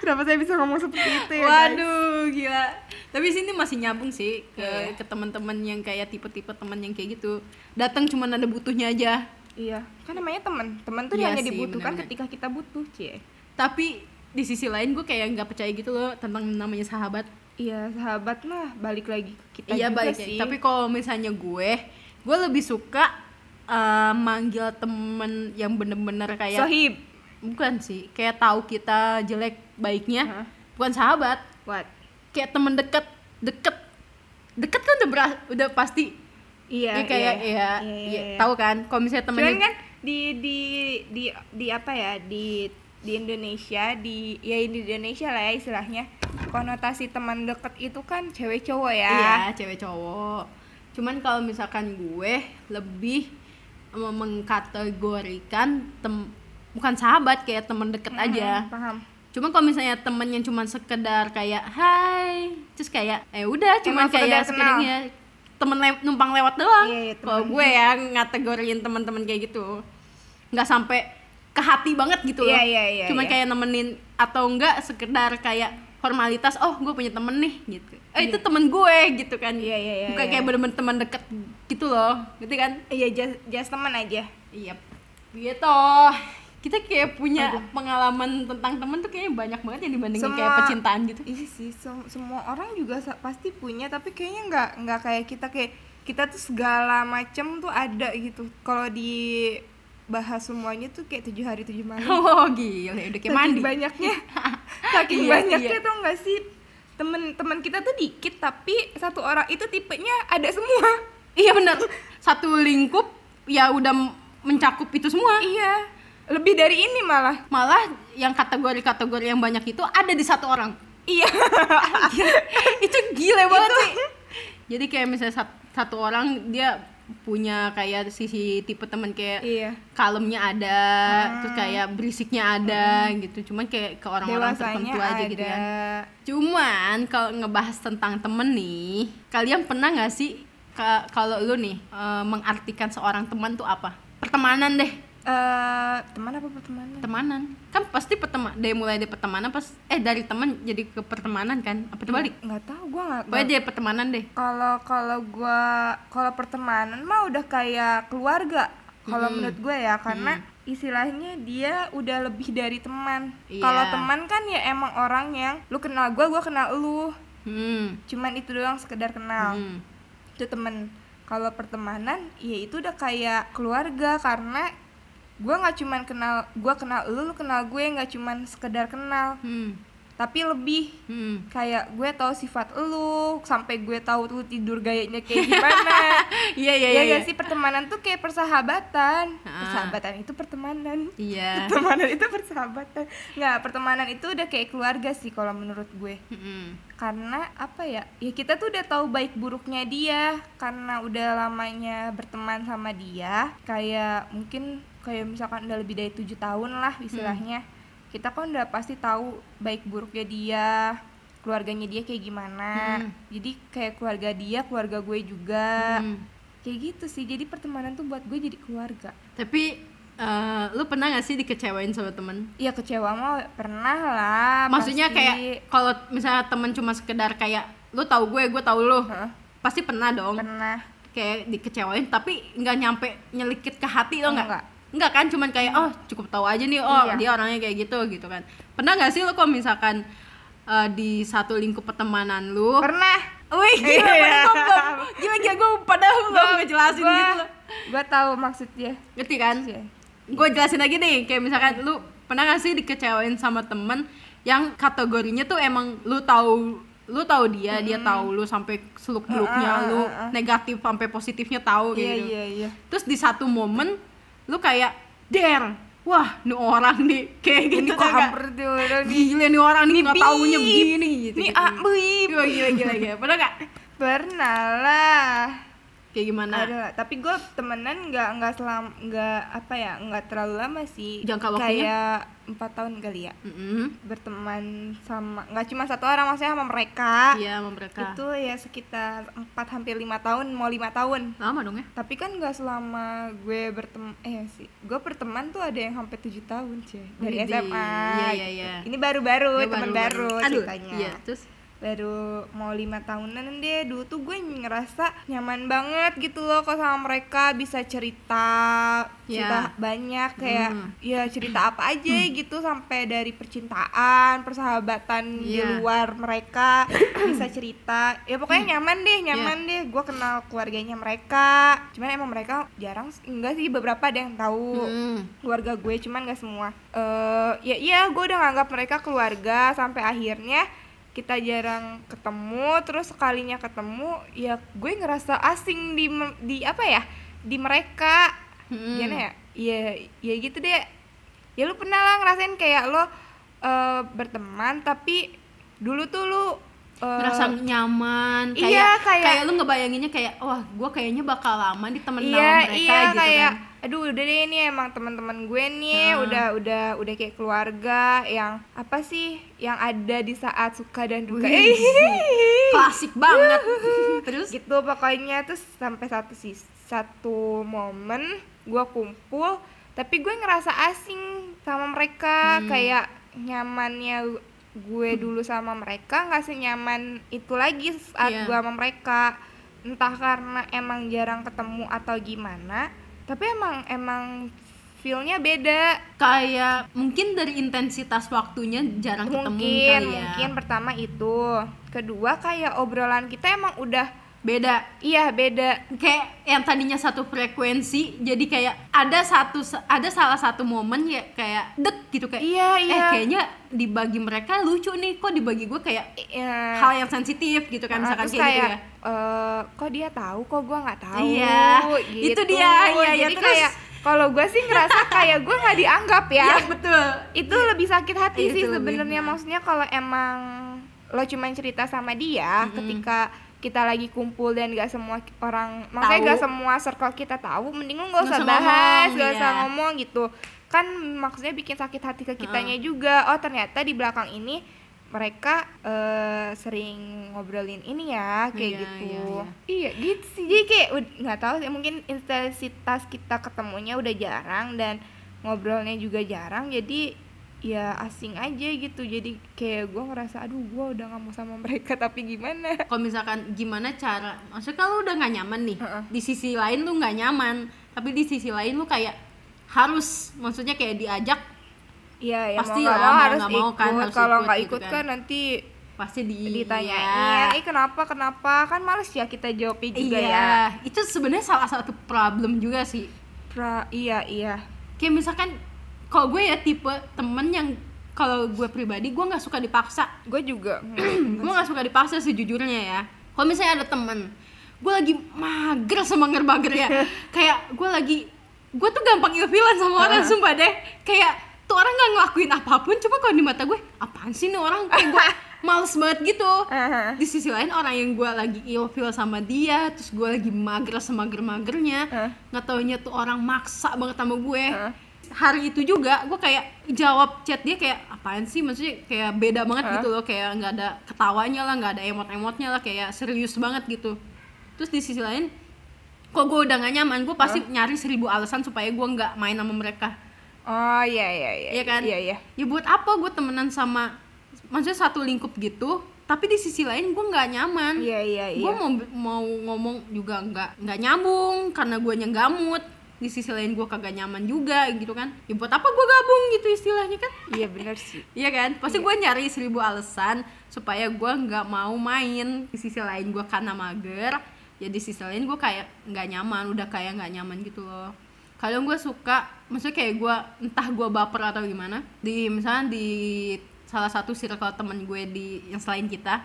S2: Kenapa saya bisa ngomong seperti itu ya? guys?
S1: Waduh, gila. Tapi sini masih nyambung sih ke
S2: Iya.
S1: ke teman-teman yang kayak tipe-tipe teman yang kayak gitu. Datang cuman ada butuhnya aja.
S2: Iya, kan namanya teman. Teman tuh
S1: Iya
S2: hanya
S1: sih,
S2: dibutuhkan
S1: benar-benar.
S2: ketika kita butuh, Cie.
S1: Tapi di sisi lain gue kayak nggak percaya gitu loh tentang namanya sahabat.
S2: Iya, sahabat mah balik lagi ke kita
S1: Iya
S2: juga
S1: baik.
S2: sih.
S1: Tapi kalau misalnya gue, gue lebih suka eh, manggil temen yang bener-bener kayak
S2: sohib.
S1: bukan sih, kayak tahu kita jelek baiknya,
S2: Hah?
S1: bukan sahabat,
S2: What?
S1: kayak temen deket, deket, deket kan udah beras, udah pasti.
S2: Iya,
S1: Dia kayak
S2: iya,
S1: ya,
S2: iya, iya, iya.
S1: tahu kan? Kalau misalnya temennya
S2: Cuman kan di di di di apa ya? Di di Indonesia, di ya di Indonesia lah ya istilahnya. Konotasi teman deket itu kan cewek cowok ya.
S1: Iya, cewek cowok. Cuman kalau misalkan gue lebih em- mengkategorikan tem bukan sahabat kayak temen deket aja.
S2: Hmm, Paham.
S1: Cuman kalau misalnya temen yang cuman sekedar kayak hai, terus kayak eh udah cuman
S2: Emang sekedar
S1: kayak
S2: kenal.
S1: sekedarnya temen le- numpang lewat doang.
S2: Iya, iya,
S1: kalau
S2: temen.
S1: gue ya ngategoriin teman-teman kayak gitu. nggak sampai ke hati banget gitu loh.
S2: Iya, iya, iya,
S1: Cuman
S2: iya.
S1: kayak nemenin atau enggak sekedar kayak formalitas, oh gue punya temen nih gitu. Eh itu temen gue gitu kan.
S2: Iya, iya, iya,
S1: Bukan
S2: iya.
S1: kayak bener-bener teman dekat gitu loh. Gitu kan?
S2: Iya, just, just teman aja.
S1: Iya, gitu. Kita kayak punya pengalaman tentang temen tuh kayaknya banyak banget ya dibandingin kayak
S2: Semua-
S1: percintaan gitu.
S2: Iya sih, sem- semua orang juga sa- pasti punya, tapi kayaknya nggak nggak kayak kita kayak kita tuh segala macem tuh ada gitu. Kalau di bahas semuanya tuh kayak tujuh hari tujuh malam.
S1: Oh gila, udah kayak mandi.
S2: Saking banyaknya, saking
S1: Iya,
S2: banyaknya
S1: iya.
S2: tuh nggak sih temen-temen kita tuh dikit, tapi satu orang itu tipenya ada semua.
S1: Iya bener. Satu lingkup ya udah mencakup itu semua.
S2: iya, lebih dari ini malah.
S1: Malah yang kategori-kategori yang banyak itu ada di satu orang.
S2: Iya, Gitu.
S1: itu gila banget sih. Jadi kayak misalnya sat- satu orang dia punya kayak sisi tipe teman kayak
S2: iya.
S1: kalemnya ada,
S2: Ah.
S1: terus kayak berisiknya ada gitu. Cuman kayak ke
S2: Hmm.
S1: orang-orang
S2: Dewasanya
S1: tertentu aja
S2: ada.
S1: gitu kan. Cuman kalau ngebahas tentang temen nih, kalian pernah nggak sih ka- kalau lu nih eh, mengartikan seorang teman tuh apa? Pertemanan deh,
S2: Eh, teman apa pertemanan?
S1: pertemanan. Kan pasti pertema dari mulai dari pertemanan pas eh dari teman jadi ke pertemanan kan? Apa terbalik?
S2: nggak tahu gue nggak
S1: Pokoknya dari pertemanan deh.
S2: kalau kalau gua kalau pertemanan mah udah kayak keluarga kalau menurut gue ya karena istilahnya dia udah lebih dari teman
S1: Iya.
S2: kalau teman kan ya emang orang yang lu kenal gua gua kenal lu
S1: Hmm.
S2: cuman itu doang sekedar kenal
S1: Hmm.
S2: itu temen kalau pertemanan ya itu udah kayak keluarga karena gua nggak cuman kenal gua kenal lu lu kenal gue nggak cuman sekedar kenal
S1: Hmm.
S2: tapi lebih
S1: Hmm.
S2: kayak gue tahu sifat lu sampai gue tahu lu tidur gayanya kayak gimana
S1: Iya
S2: ya,
S1: iya iya.
S2: ya
S1: iya.
S2: sih pertemanan tuh kayak persahabatan
S1: Ah.
S2: persahabatan itu pertemanan
S1: Iya.
S2: pertemanan itu persahabatan nggak pertemanan itu udah kayak keluarga sih kalau menurut gue
S1: Mm-mm.
S2: karena apa ya ya kita tuh udah tahu baik buruknya dia karena udah lamanya berteman sama dia kayak mungkin kayak misalkan udah lebih dari tujuh tahun lah
S1: Hmm.
S2: istilahnya kita kan udah pasti tahu baik buruknya dia keluarganya dia kayak gimana
S1: Hmm.
S2: jadi kayak keluarga dia keluarga gue juga
S1: Hmm.
S2: kayak gitu sih jadi pertemanan tuh buat gue jadi keluarga
S1: Tapi eh, lu pernah gak sih dikecewain sama temen?
S2: ya kecewa mah pernah lah
S1: maksudnya
S2: Ah, pasti.
S1: kayak kalau misalnya temen cuma sekedar kayak lu tahu gue gue tahu lu
S2: Heeh,
S1: pasti pernah dong
S2: pernah
S1: kayak dikecewain tapi nggak nyampe nyelekit ke hati lo nggak
S2: Enggak.
S1: nggak kan cuman kayak oh cukup tahu aja nih oh
S2: Iya.
S1: dia orangnya kayak gitu gitu kan pernah nggak sih lo kalau misalkan eh, di satu lingkup pertemanan lu
S2: pernah
S1: Wih, gila,
S2: Iya.
S1: gua belum- gila, gila, gue padahal gue belum ngejelasin
S2: Gua-
S1: gitu loh
S2: gua tahu maksudnya
S1: Ngerti kan?
S2: Iya.
S1: Gue jelasin lagi nih, kayak misalkan lu pernah gak sih dikecewain sama temen yang kategorinya tuh emang lu tahu lu tahu dia, dia tahu lu sampai seluk beluknya,
S2: Heeh,
S1: lu
S2: heeh, heeh.
S1: negatif sampai positifnya tahu
S2: ah,
S1: kayak
S2: iya
S1: gitu.
S2: iya iya
S1: Terus di satu momen lu kayak der, wah ini orang nih kayak
S2: ini
S1: gitu
S2: kok
S1: tau nggak?
S2: hampir gitu, dulu nih ah,
S1: Gila nih orang nih nggak
S2: bi.
S1: taunya begini gitu.
S2: ini
S1: gitu.
S2: abis
S1: Gila, gila gila gila. Pernah gak?
S2: pernah lah
S1: kayak gimana
S2: ada lah. tapi gue temenan nggak nggak selam nggak apa ya nggak terlalu lama sih
S1: Jangka waktunya?
S2: kayak empat tahun kali ya
S1: Mm-mm.
S2: berteman sama nggak cuma satu orang maksudnya sama mereka
S1: iya sama mereka
S2: Ah, itu ya sekitar empat hampir lima tahun mau lima tahun
S1: lama dong ya
S2: tapi kan nggak selama gue berteman eh sih gue berteman tuh ada yang hampir tujuh tahun cie dari
S1: Widih,
S2: SMA
S1: iya, iya,
S2: gitu.
S1: iya.
S2: ini baru-baru
S1: Ya,
S2: teman baru,
S1: Aduh,
S2: ceritanya
S1: iya terus
S2: baru mau lima tahunan deh dulu tuh gue ngerasa nyaman banget gitu loh kok sama mereka bisa cerita cerita
S1: Ya.
S2: banyak kayak
S1: Hmm.
S2: ya cerita apa aja gitu sampai dari percintaan persahabatan di
S1: Iya.
S2: luar mereka bisa cerita ya pokoknya nyaman deh
S1: Iya.
S2: nyaman deh gue kenal keluarganya mereka cuman emang mereka jarang s- enggak sih beberapa ada yang tahu
S1: Mm.
S2: keluarga gue cuman gak semua eh ya iya gue udah nganggap mereka keluarga sampai akhirnya kita jarang ketemu terus sekalinya ketemu ya gue ngerasa asing di me- di apa ya di mereka
S1: Mm.
S2: gimana ya ya ya gitu deh ya lu pernah lah ngerasain kayak lo eh, berteman tapi dulu tuh lu eh,
S1: merasa nyaman kayak
S2: iya, kayak-
S1: kayak lu ngebayanginnya kayak wah gua kayaknya bakal lama di temen
S2: iya
S1: sama mereka
S2: iya
S1: gitu
S2: kayak
S1: kan
S2: aduh udah deh ini emang teman-teman gue nih
S1: Hmm.
S2: udah udah udah kayak keluarga yang apa sih yang ada di saat suka dan duka
S1: Wih, klasik banget terus
S2: gitu pokoknya terus sampai satu sih satu momen gue kumpul tapi gue ngerasa asing sama mereka
S1: Hmm.
S2: kayak nyamannya gue dulu sama mereka nggak senyaman itu lagi saat
S1: Iya.
S2: gue sama mereka entah karena emang jarang ketemu atau gimana tapi emang emang feelnya beda
S1: kayak mungkin dari intensitas waktunya jarang ketemu
S2: mungkin
S1: kali ya
S2: mungkin pertama itu kedua kayak obrolan kita emang udah
S1: beda
S2: iya beda
S1: kayak yang tadinya satu frekuensi jadi kayak ada satu ada salah satu momen ya kayak dek gitu kayak
S2: Iya, iya.
S1: eh kayaknya dibagi mereka lucu nih kok dibagi gue kayak
S2: Iya.
S1: hal yang sensitif gitu
S2: Ah,
S1: kan misalkan
S2: terus
S1: kayak, gitu ya
S2: eh, kok dia tahu kok gua nggak tahu
S1: Iya,
S2: gitu.
S1: itu dia, iya, iya,
S2: jadi
S1: terus-
S2: kayak kalau gua sih ngerasa kayak gua nggak dianggap ya
S1: Iya, betul
S2: itu lebih sakit hati
S1: Iya. Itu
S2: sih
S1: lebih,
S2: sebenarnya
S1: nah.
S2: maksudnya kalau emang lo cuman cerita sama dia ketika kita lagi kumpul dan gak semua orang maksudnya
S1: Tahu.
S2: gak semua circle kita tahu mending lo gak
S1: Nggak
S2: usah
S1: usah
S2: bahas
S1: ngomong,
S2: gak usah
S1: iya.
S2: ngomong gitu kan maksudnya bikin sakit hati ke kitanya juga oh ternyata di belakang ini mereka eh, sering ngobrolin ini ya kayak
S1: Iya,
S2: gitu
S1: iya, iya.
S2: Iya gitu sih jadi kayak ud- nggak tahu sih mungkin intensitas kita ketemunya udah jarang dan ngobrolnya juga jarang jadi ya asing aja gitu jadi kayak gue ngerasa aduh gue udah nggak mau sama mereka tapi gimana
S1: kalau misalkan gimana cara maksudnya kan lu udah nggak nyaman nih
S2: Heeh.
S1: di sisi lain lu nggak nyaman tapi di sisi lain lu kayak harus maksudnya kayak diajak
S2: Iya ya
S1: Pasti
S2: mau nggak
S1: lah,
S2: mau
S1: mau
S2: harus
S1: nggak mau
S2: ikut
S1: kan harus
S2: kalau
S1: ikut
S2: nggak
S1: gitu
S2: ikut
S1: kan. Iya.
S2: kan nanti
S1: pasti di
S2: ditanyain eh kenapa kenapa kan males ya kita jawabnya juga
S1: iya
S2: ya
S1: itu sebenarnya salah satu problem juga sih
S2: pra iya iya
S1: kayak misalkan kalau gue ya tipe temen yang kalau gue pribadi gue nggak suka dipaksa
S2: gue juga
S1: gue nggak suka dipaksa sejujurnya ya kalau misalnya ada temen gue lagi mager sama ngerbager ya kayak gue lagi gue tuh gampang ilfilan sama orang sumpah deh kayak tuh orang nggak ngelakuin apapun cuma kalau di mata gue apaan sih nih orang kayak gue males banget gitu
S2: Aha.
S1: di sisi lain orang yang gue lagi ilfil sama dia terus gue lagi mager semager magernya
S2: Hah?
S1: nggak taunya tuh orang maksa banget sama gue
S2: Hah?
S1: hari itu juga gue kayak jawab chat dia kayak apaan sih maksudnya kayak beda banget
S2: Hah?
S1: gitu loh kayak nggak ada ketawanya lah nggak ada emot-emotnya lah kayak serius banget gitu terus di sisi lain kok gue udah gak nyaman gue pasti nyari seribu alasan supaya gue nggak main sama mereka
S2: oh iya iya iya
S1: Iya kan?
S2: iya iya
S1: ya buat apa gue temenan sama maksudnya satu lingkup gitu tapi di sisi lain gue nggak nyaman
S2: iya iya iya
S1: gue mau mau ngomong juga nggak nggak nyambung karena gue nyenggamut di sisi lain gue kagak nyaman juga gitu kan ya buat apa gue gabung gitu istilahnya kan
S2: iya bener sih
S1: Iya kan, pasti gue nyari seribu alasan supaya gue nggak mau main di sisi lain gue karena mager, ya di sisi lain gue kayak nggak nyaman, udah kayak nggak nyaman gitu loh. Kadang gue suka, maksudnya kayak gue entah gue baper atau gimana, di misalnya di salah satu circle temen gue di yang selain kita,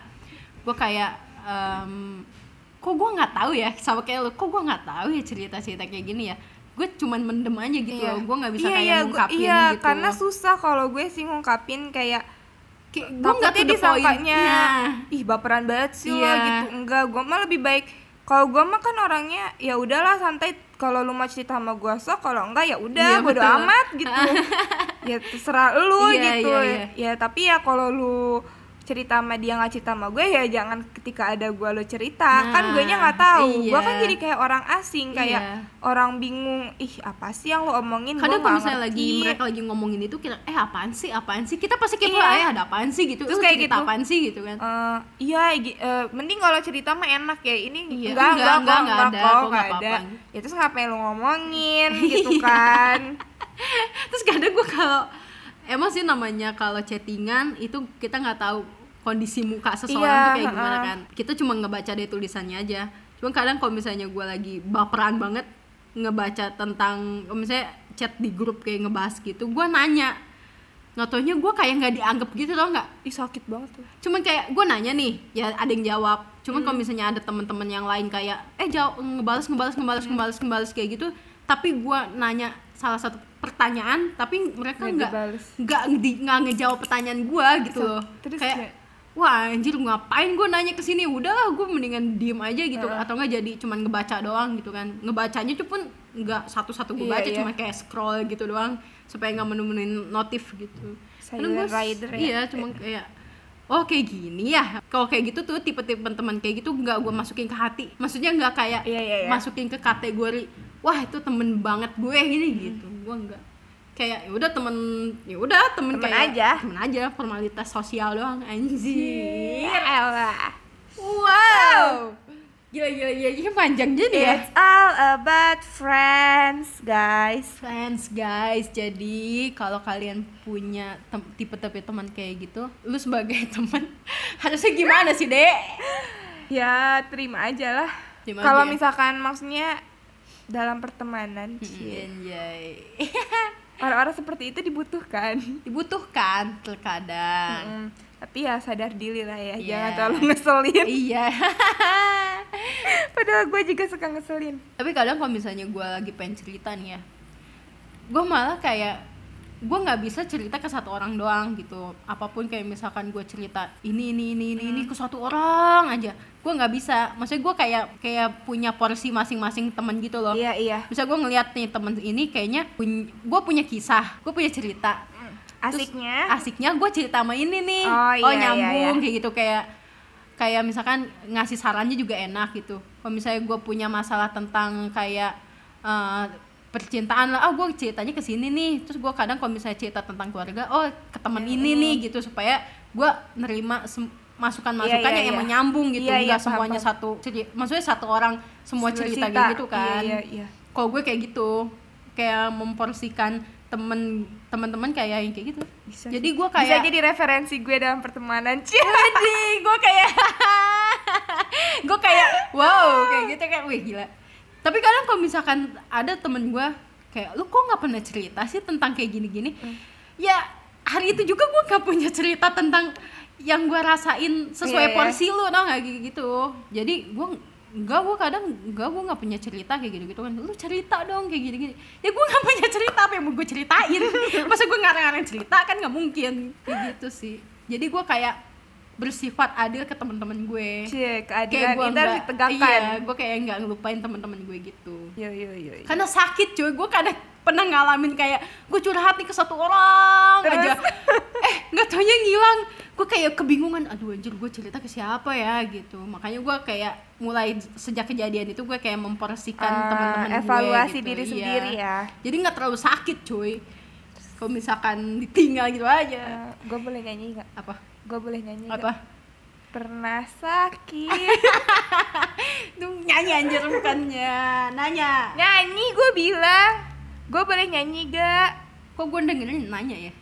S1: gue kayak em, kok gue nggak tahu ya sama kayak lo, kok gue nggak tahu ya cerita-cerita kayak gini ya, gue cuman mendem aja gitu loh, gue nggak bisa
S2: Iya,
S1: kayak
S2: iya, gua-
S1: ngungkapin
S2: iya,
S1: gitu.
S2: karena susah kalau gue sih ngungkapin kayak
S1: kayak gue
S2: takutnya
S1: nggak tuh the point.
S2: disangkanya
S1: Nah,
S2: ih baperan banget sih lo
S1: Iya.
S2: gitu enggak gue mah lebih baik kalau gue mah kan orangnya ya udahlah santai kalau lu mau cerita sama gue sok kalau enggak ya udah
S1: Iya,
S2: bodo
S1: betul.
S2: amat gitu ya terserah lu
S1: Iya,
S2: gitu
S1: iya,
S2: ya tapi ya kalau lu cerita sama dia nggak cerita sama gue ya jangan ketika ada gue lo cerita kan
S1: Nah,
S2: gue nya nggak tahu gue
S1: iya.
S2: kan jadi kayak orang asing kayak
S1: Iya.
S2: orang bingung ih apa sih yang lo omongin Gua
S1: kadang kalau
S2: nggak
S1: misalnya lagi
S2: ngerti."
S1: mereka lagi ngomongin itu kita eh apaan sih apaan sih kita pasti kepo
S2: Iya.
S1: eh ada apaan sih gitu
S2: Terus
S1: Lu
S2: kayak
S1: cerita
S2: gitu.
S1: apaan sih gitu kan
S2: Eh, iya gi- eh, mending kalau cerita mah enak ya ini enggak
S1: Iya,
S2: enggak
S1: enggak,
S2: enggak
S1: enggak,
S2: enggak,
S1: enggak
S2: kok,
S1: ada, kok
S2: enggak
S1: enggak
S2: ada
S1: apa-apa.
S2: ya terus ngapain lu ngomongin gitu kan
S1: terus kadang gue kalau emang sih namanya kalau chattingan itu kita nggak tahu kondisi muka
S2: Iya,
S1: seseorang tuh kayak gimana
S2: heeh.
S1: kan kita cuma ngebaca dari tulisannya aja cuma kadang kalau misalnya gue lagi baperan banget ngebaca tentang misalnya chat di grup kayak ngebahas gitu gue nanya nggak taunya gue kayak nggak dianggap gitu tau nggak
S2: ih sakit banget tuh
S1: cuman kayak gue nanya nih ya ada yang jawab cuman
S2: Hmm.
S1: kalau misalnya ada teman-teman yang lain kayak eh jawab ngebales ngebales ngebales
S2: Hmm.
S1: ngebales ngebales kayak gitu tapi gue nanya salah satu pertanyaan tapi mereka
S2: Nggak
S1: nggak
S2: dibales.
S1: nggak di- nggak ngejawab pertanyaan gue gitu
S2: Terus-
S1: loh
S2: terus kayak-
S1: kayak wah anjir ngapain gue nanya ke sini udahlah gue mendingan diem aja gitu
S2: Heeh.
S1: atau nggak jadi cuman ngebaca doang gitu kan ngebacanya tuh pun nggak satu-satu
S2: Iya,
S1: gue baca
S2: iya.
S1: cuma kayak scroll gitu doang supaya nggak menemuin notif gitu
S2: Silent
S1: Karena gua s-
S2: rider ya.
S1: iya cuma kayak oh kayak gini ya kalau kayak gitu tuh tipe-tipe teman kayak gitu nggak gue masukin ke hati maksudnya nggak kayak
S2: Iya, iya, iya.
S1: masukin ke kategori wah itu temen banget gue gini gitu gue nggak kayak ya udah temen ya udah temen,
S2: Temen
S1: kayak-
S2: aja.
S1: temen aja formalitas sosial doang anjir
S2: Iya, elah.
S1: wow gila gila gila, gila panjang jadi ya
S2: It's all about friends, guys.
S1: friends guys jadi kalau kalian punya tem- tipe-tipe teman kayak gitu lu sebagai teman harusnya gimana sih dek
S2: Ya, terima aja lah.
S1: Terima
S2: Kalau
S1: aja. ya.
S2: misalkan maksudnya dalam pertemanan,
S1: Iya.
S2: cie.
S1: Anjay. Eh,
S2: orang-orang seperti itu dibutuhkan.
S1: Iya. dibutuhkan terkadang
S2: Mm, Tapi ya sadar diri lah ya,
S1: Iya.
S2: jangan terlalu ngeselin.
S1: iya
S2: Padahal gue juga suka ngeselin.
S1: tapi kadang kalau misalnya gue lagi pengen cerita nih ya gue malah kayak gue nggak bisa cerita ke satu orang doang gitu apapun kayak misalkan gue cerita ini ini ini ini ini ke satu orang aja gue nggak bisa maksudnya gue kayak kayak punya porsi masing-masing teman gitu loh
S2: Iya iya.
S1: bisa gue ngeliat nih temen ini kayaknya gue punya kisah gue punya cerita
S2: Asiknya.
S1: asiknya gue cerita sama ini nih
S2: Eh. Oh, iya, iya, iya.
S1: nyambung kayak gitu kayak kayak misalkan ngasih sarannya juga enak gitu kalau misalnya gue punya masalah tentang kayak eh, percintaan lah ah gue ceritanya ke sini nih terus gue kadang kalau misalnya cerita tentang keluarga oh ke teman
S2: Iya,
S1: ini nih gitu supaya gue nerima sem- masukan-masukan
S2: Iya, iya, iya.
S1: yang emang nyambung
S2: Iya,
S1: gitu
S2: iya,
S1: nggak
S2: paham,
S1: semuanya
S2: paham.
S1: satu ceri- maksudnya satu orang
S2: Sebuah
S1: semua cerita,
S2: cerita.
S1: kayak gitu kan
S2: Iya, iya, iya.
S1: kalau gue kayak gitu kayak memporsikan temen teman-teman kayak yang kayak gitu
S2: Bisa
S1: jadi gue
S2: Bisa
S1: kayak
S2: jadi referensi gue dalam pertemanan. Cie.
S1: gue kayak gue kayak wow kayak gitu kayak wih gila tapi kadang kalau misalkan ada temen gue kayak lu kok nggak pernah cerita sih tentang kayak gini-gini
S2: Hmm.
S1: ya hari itu juga gue nggak punya cerita tentang yang gue rasain
S2: Iya,
S1: sesuai
S2: iya.
S1: porsi lu tau nggak kayak gitu jadi gue enggak gue kadang enggak gue nggak punya cerita kayak gitu gitu kan lu cerita dong kayak gini gini ya gue nggak punya cerita apa yang mau gue ceritain masa gue ngarang-ngarang cerita kan nggak mungkin kayak gitu sih jadi gue kayak bersifat adil ke teman-teman gue
S2: Cie,
S1: kayak
S2: keadilan
S1: gue
S2: itu harus
S1: nggak-
S2: ditegakkan.
S1: iya gue kayak nggak ngelupain teman-teman gue gitu
S2: Yo yo yo. yo.
S1: karena sakit cuy gue kadang pernah ngalamin kayak gue curhat nih ke satu orang
S2: Terus?
S1: aja eh nggak taunya ngilang gue kayak kebingungan aduh anjir gue cerita ke siapa ya gitu makanya gue kayak mulai sejak kejadian itu gue kayak memporsikan
S2: Ah,
S1: teman-teman gue
S2: evaluasi
S1: gitu,
S2: diri
S1: iya.
S2: sendiri ya.
S1: jadi nggak terlalu sakit cuy kalau misalkan ditinggal gitu aja
S2: Eh, gue boleh nyanyi nggak?
S1: apa
S2: Gue boleh nyanyi nggak?
S1: apa
S2: Pernah sakit.
S1: Duh, nyanyi anjir bukannya nanya
S2: nyanyi gue bilang. Gue boleh nyanyi gak?
S1: kok gue dengerin nanya ya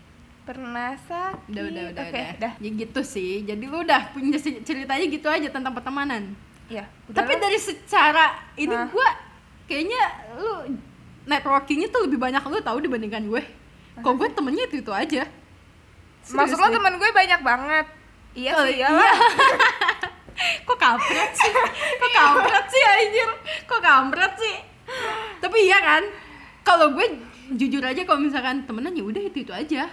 S2: Pernah sakit.
S1: udah udah udah
S2: Oke,
S1: udah.
S2: dah.
S1: ya gitu sih jadi lu udah punya se- ceritanya gitu aja tentang pertemanan
S2: Iya. udah
S1: tapi
S2: lah.
S1: dari secara ini
S2: Hah?
S1: gua kayaknya lu networkingnya tuh lebih banyak lu tahu dibandingkan gue kok gue temennya itu itu aja
S2: maksud lo
S1: Serius deh.
S2: teman gue banyak banget. Iya
S1: Oh,
S2: sih,
S1: iya.
S2: iyalah.
S1: kok kampret sih kok kampret sih anjir kok kampret sih tapi iya kan kalau gue jujur aja kalau misalkan temenan ya udah itu itu aja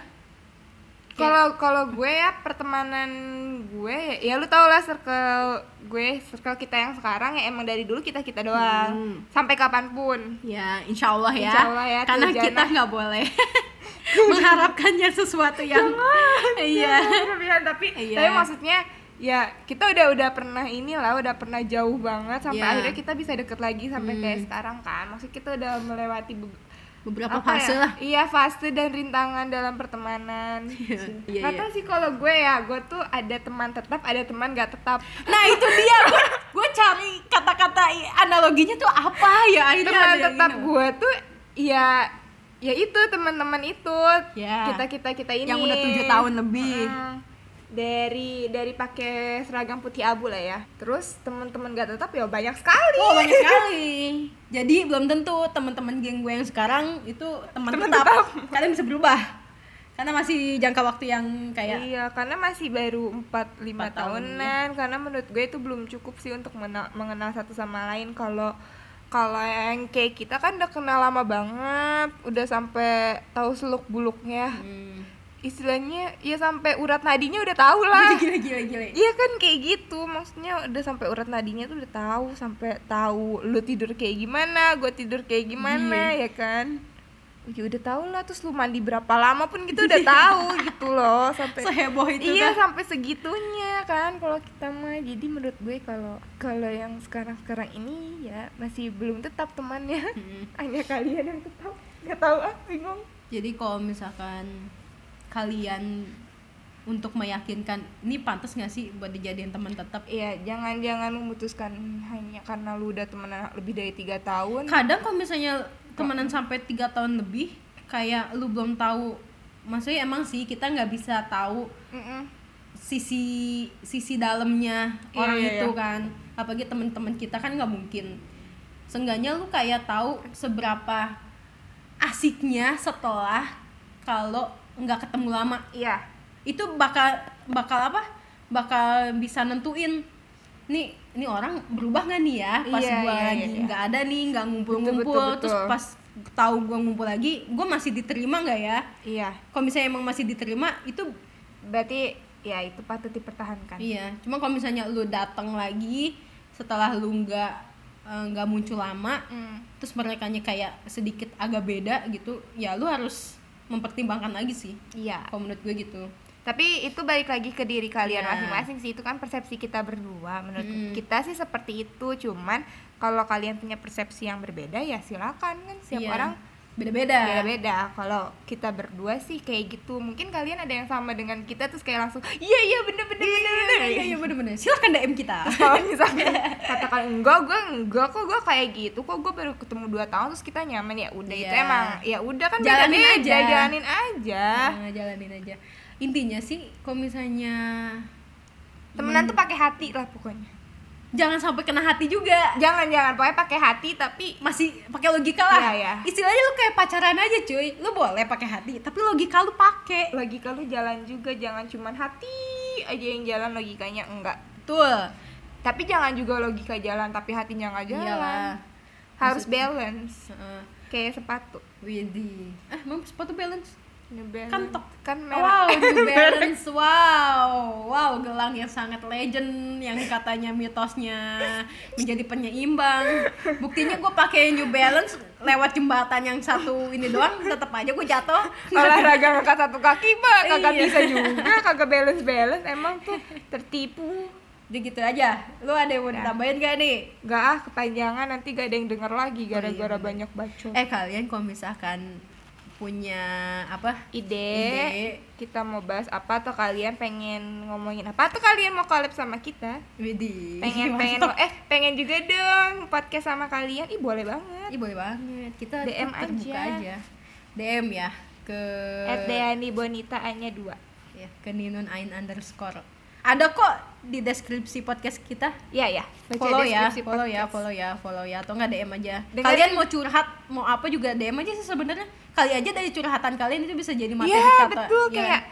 S2: Kalau kalau gue ya pertemanan gue ya- ya lu tau lah circle gue circle kita yang sekarang ya emang dari dulu kita kita doang
S1: Hmm.
S2: sampai kapanpun
S1: Ya, insya Allah ya.
S2: Insya Allah ya,
S1: Karena
S2: tuh,
S1: kita
S2: Jana.
S1: nggak boleh mengharapkannya sesuatu yang iya.
S2: berlebihan tapi
S1: Iya.
S2: tapi maksudnya ya kita udah udah pernah inilah udah pernah jauh banget sampai
S1: Iya. Hmm.
S2: akhirnya kita bisa deket lagi sampai kayak sekarang kan maksud kita udah melewati be-
S1: Beberapa
S2: apa
S1: fase
S2: ya?
S1: lah.
S2: iya fase dan rintangan dalam pertemanan Gitu.
S1: Iya,
S2: Nggak
S1: iya.
S2: tahu sih kalau gue ya gue tuh ada teman tetap ada teman gak tetap
S1: Nah itu dia, gue, gue cari kata-kata i- analoginya tuh apa ya
S2: teman
S1: akhirnya ada yang
S2: Iya, tetap
S1: ini.
S2: gue tuh ya ya itu teman-teman itu
S1: Ya.
S2: kita kita kita ini
S1: Yang udah tujuh tahun lebih.
S2: Mm. dari dari pakai seragam putih abu lah ya terus teman-teman gak tetap ya banyak sekali
S1: Oh banyak sekali. Jadi belum tentu teman-teman geng gue yang sekarang itu teman
S2: Teman
S1: tetap.
S2: tetap.
S1: Kadang bisa berubah. Karena masih jangka waktu yang kayak
S2: iya karena masih baru 4 lima
S1: Empat tahun, ya.
S2: tahunan karena menurut gue itu belum cukup sih untuk mena- mengenal satu sama lain kalau kalau yang kayak kita kan udah kenal lama banget udah sampai tahu seluk buluknya
S1: hmm,
S2: istilahnya ya sampai urat nadinya udah tahu lah
S1: gila gila gila.
S2: Iya kan kayak gitu, maksudnya udah sampai urat nadinya tuh udah tahu, sampai tahu lu tidur kayak gimana, gue tidur kayak gimana, ya kan? Ya udah tahu lah, terus lu mandi berapa lama pun gitu udah tahu gitu loh, sampai
S1: Seheboh itu
S2: iya
S1: dah.
S2: sampai segitunya kan kalau kita mah. Jadi menurut gue kalau kalau yang sekarang sekarang ini ya masih belum tetap temannya,
S1: Mm.
S2: hanya kalian yang tetap. Gak tahu ah, bingung.
S1: Jadi kalau misalkan kalian untuk meyakinkan ini pantas nggak sih buat dijadiin teman tetap?
S2: Iya, jangan-jangan memutuskan hanya karena lu udah temenan lebih dari tiga tahun.
S1: Kadang kalau misalnya temenan sampai tiga tahun lebih, kayak lu belum tahu. Maksudnya emang sih kita nggak bisa tahu
S2: Mm-mm.
S1: sisi sisi dalamnya
S2: Iya,
S1: orang
S2: iya,
S1: itu
S2: iya.
S1: kan apalagi teman-teman kita kan nggak mungkin seenggaknya lu kayak tahu seberapa asiknya setelah kalau nggak ketemu lama
S2: Iya.
S1: itu bakal bakal apa bakal bisa nentuin nih ini orang berubah nggak nih ya pas
S2: Iya,
S1: gua
S2: iya,
S1: lagi
S2: iya.
S1: nggak ada nih nggak ngumpul-ngumpul
S2: Betul, betul,
S1: terus
S2: betul.
S1: pas tahu gua ngumpul lagi gua masih diterima nggak ya
S2: Iya.
S1: kalau misalnya emang masih diterima itu
S2: Berarti ya itu patut dipertahankan.
S1: Iya, cuma kalau misalnya lu datang lagi setelah lu nggak eh, nggak muncul lama,
S2: Mm.
S1: terus mereka kayak sedikit agak beda gitu, ya lu harus mempertimbangkan lagi sih.
S2: Iya.
S1: Kalau menurut gue gitu.
S2: Tapi itu balik lagi ke diri kalian
S1: Iya.
S2: masing-masing sih. Itu kan persepsi kita berdua. Menurut
S1: Mm.
S2: kita sih seperti itu. Cuman kalau kalian punya persepsi yang berbeda ya silakan kan siap
S1: Iya.
S2: orang
S1: beda-beda.
S2: beda-beda. Kalau kita berdua sih kayak gitu. Mungkin kalian ada yang sama dengan kita terus kayak langsung, "Iya, iya bener bener bener." bener."
S1: Iya, iya bener-bener. Silahkan DM kita.
S2: kalau misalkan katakan enggak gue enggak kok gue kayak gitu kok gue baru ketemu 2 tahun terus kita nyaman ya udah itu
S1: Iya.
S2: emang ya udah kan
S1: Jalanin
S2: beda-beda,
S1: aja.
S2: jalanin aja
S1: Nah, jalanin aja. Intinya sih, kalau misalnya
S2: temenan tuh pakai hati lah pokoknya
S1: jangan sampai kena hati juga.
S2: jangan jangan pokoknya pakai hati tapi
S1: masih pakai logika lah.
S2: Iya, iya.
S1: Istilahnya lu kayak pacaran aja, cuy. Lu boleh pakai hati, tapi logika lu pakai.
S2: logika lu jalan juga jangan cuman hati aja yang jalan logikanya enggak
S1: Betul.
S2: tapi jangan juga logika jalan tapi hatinya nggak jalan
S1: Iyalah.
S2: harus balance
S1: Heeh.
S2: kayak sepatu
S1: Widih. Ah, emang sepatu balance.
S2: New Balance.
S1: Kan tok.
S2: kan
S1: Wow,
S2: merah
S1: New Balance. Wow. Wow, gelang yang sangat legend yang katanya mitosnya menjadi penyeimbang. Buktinya gue pakai New Balance lewat jembatan yang satu ini doang tetap aja gue jatuh.
S2: olahraga ngangkat satu kaki mah kagak
S1: Iya.
S2: bisa juga kagak balance balance emang tuh tertipu
S1: Jadi gitu aja. Lu ada yang mau
S2: Ya.
S1: ditambahin gak nih?
S2: gak ah kepanjangan nanti gak ada yang denger lagi gara-gara
S1: Oh, bener.
S2: banyak bacot
S1: Eh kalian kalau misalkan punya apa?
S2: ide,
S1: ide.
S2: kita mau bahas apa atau kalian pengen ngomongin apa atau kalian mau collab sama kita
S1: Widih.
S2: pengen pengen
S1: mantap.
S2: eh pengen juga dong podcast sama kalian ih boleh banget
S1: Ih boleh banget. Kita
S2: DM
S1: tetap terbuka
S2: aja.
S1: aja. DM ya ke Iya.
S2: at Deani Bonita hanya dua
S1: ya, ke Ninun Ain underscore. Ada kok di deskripsi podcast kita.
S2: ya ya baca
S1: Follow ya,
S2: deskripsi
S1: follow ya,
S2: podcast.
S1: follow ya, follow ya atau enggak DM aja.
S2: Dengerin-
S1: Kalian mau curhat, mau apa juga DM aja sih sebenarnya. Kali aja dari curhatan kalian itu bisa jadi materi
S2: Iya
S1: kata.
S2: betul
S1: ya.
S2: kayak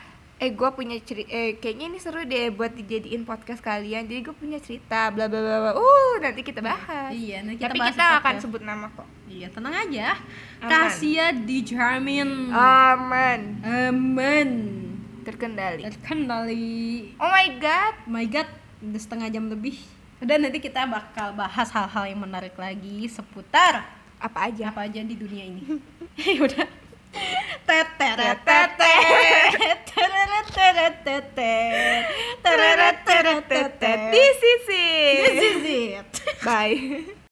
S2: eh gue punya cerita eh, kayaknya ini seru deh buat dijadiin podcast kalian jadi gue punya cerita bla bla bla bla. uh nanti kita bahas
S1: Iya, nanti kita
S2: tapi
S1: bahas
S2: kita
S1: di
S2: akan
S1: podcast.
S2: sebut nama kok
S1: Iya, tenang aja.
S2: Aman.
S1: Hmm.
S2: Ah.
S1: Kasia dijamin.
S2: aman
S1: Aman.
S2: terkendali
S1: terkendali
S2: oh my god
S1: my god udah setengah jam lebih dan nanti kita bakal bahas hal-hal yang menarik lagi seputar
S2: apa aja
S1: apa aja di dunia ini udah teteret
S2: This is it.
S1: This is it.
S2: bye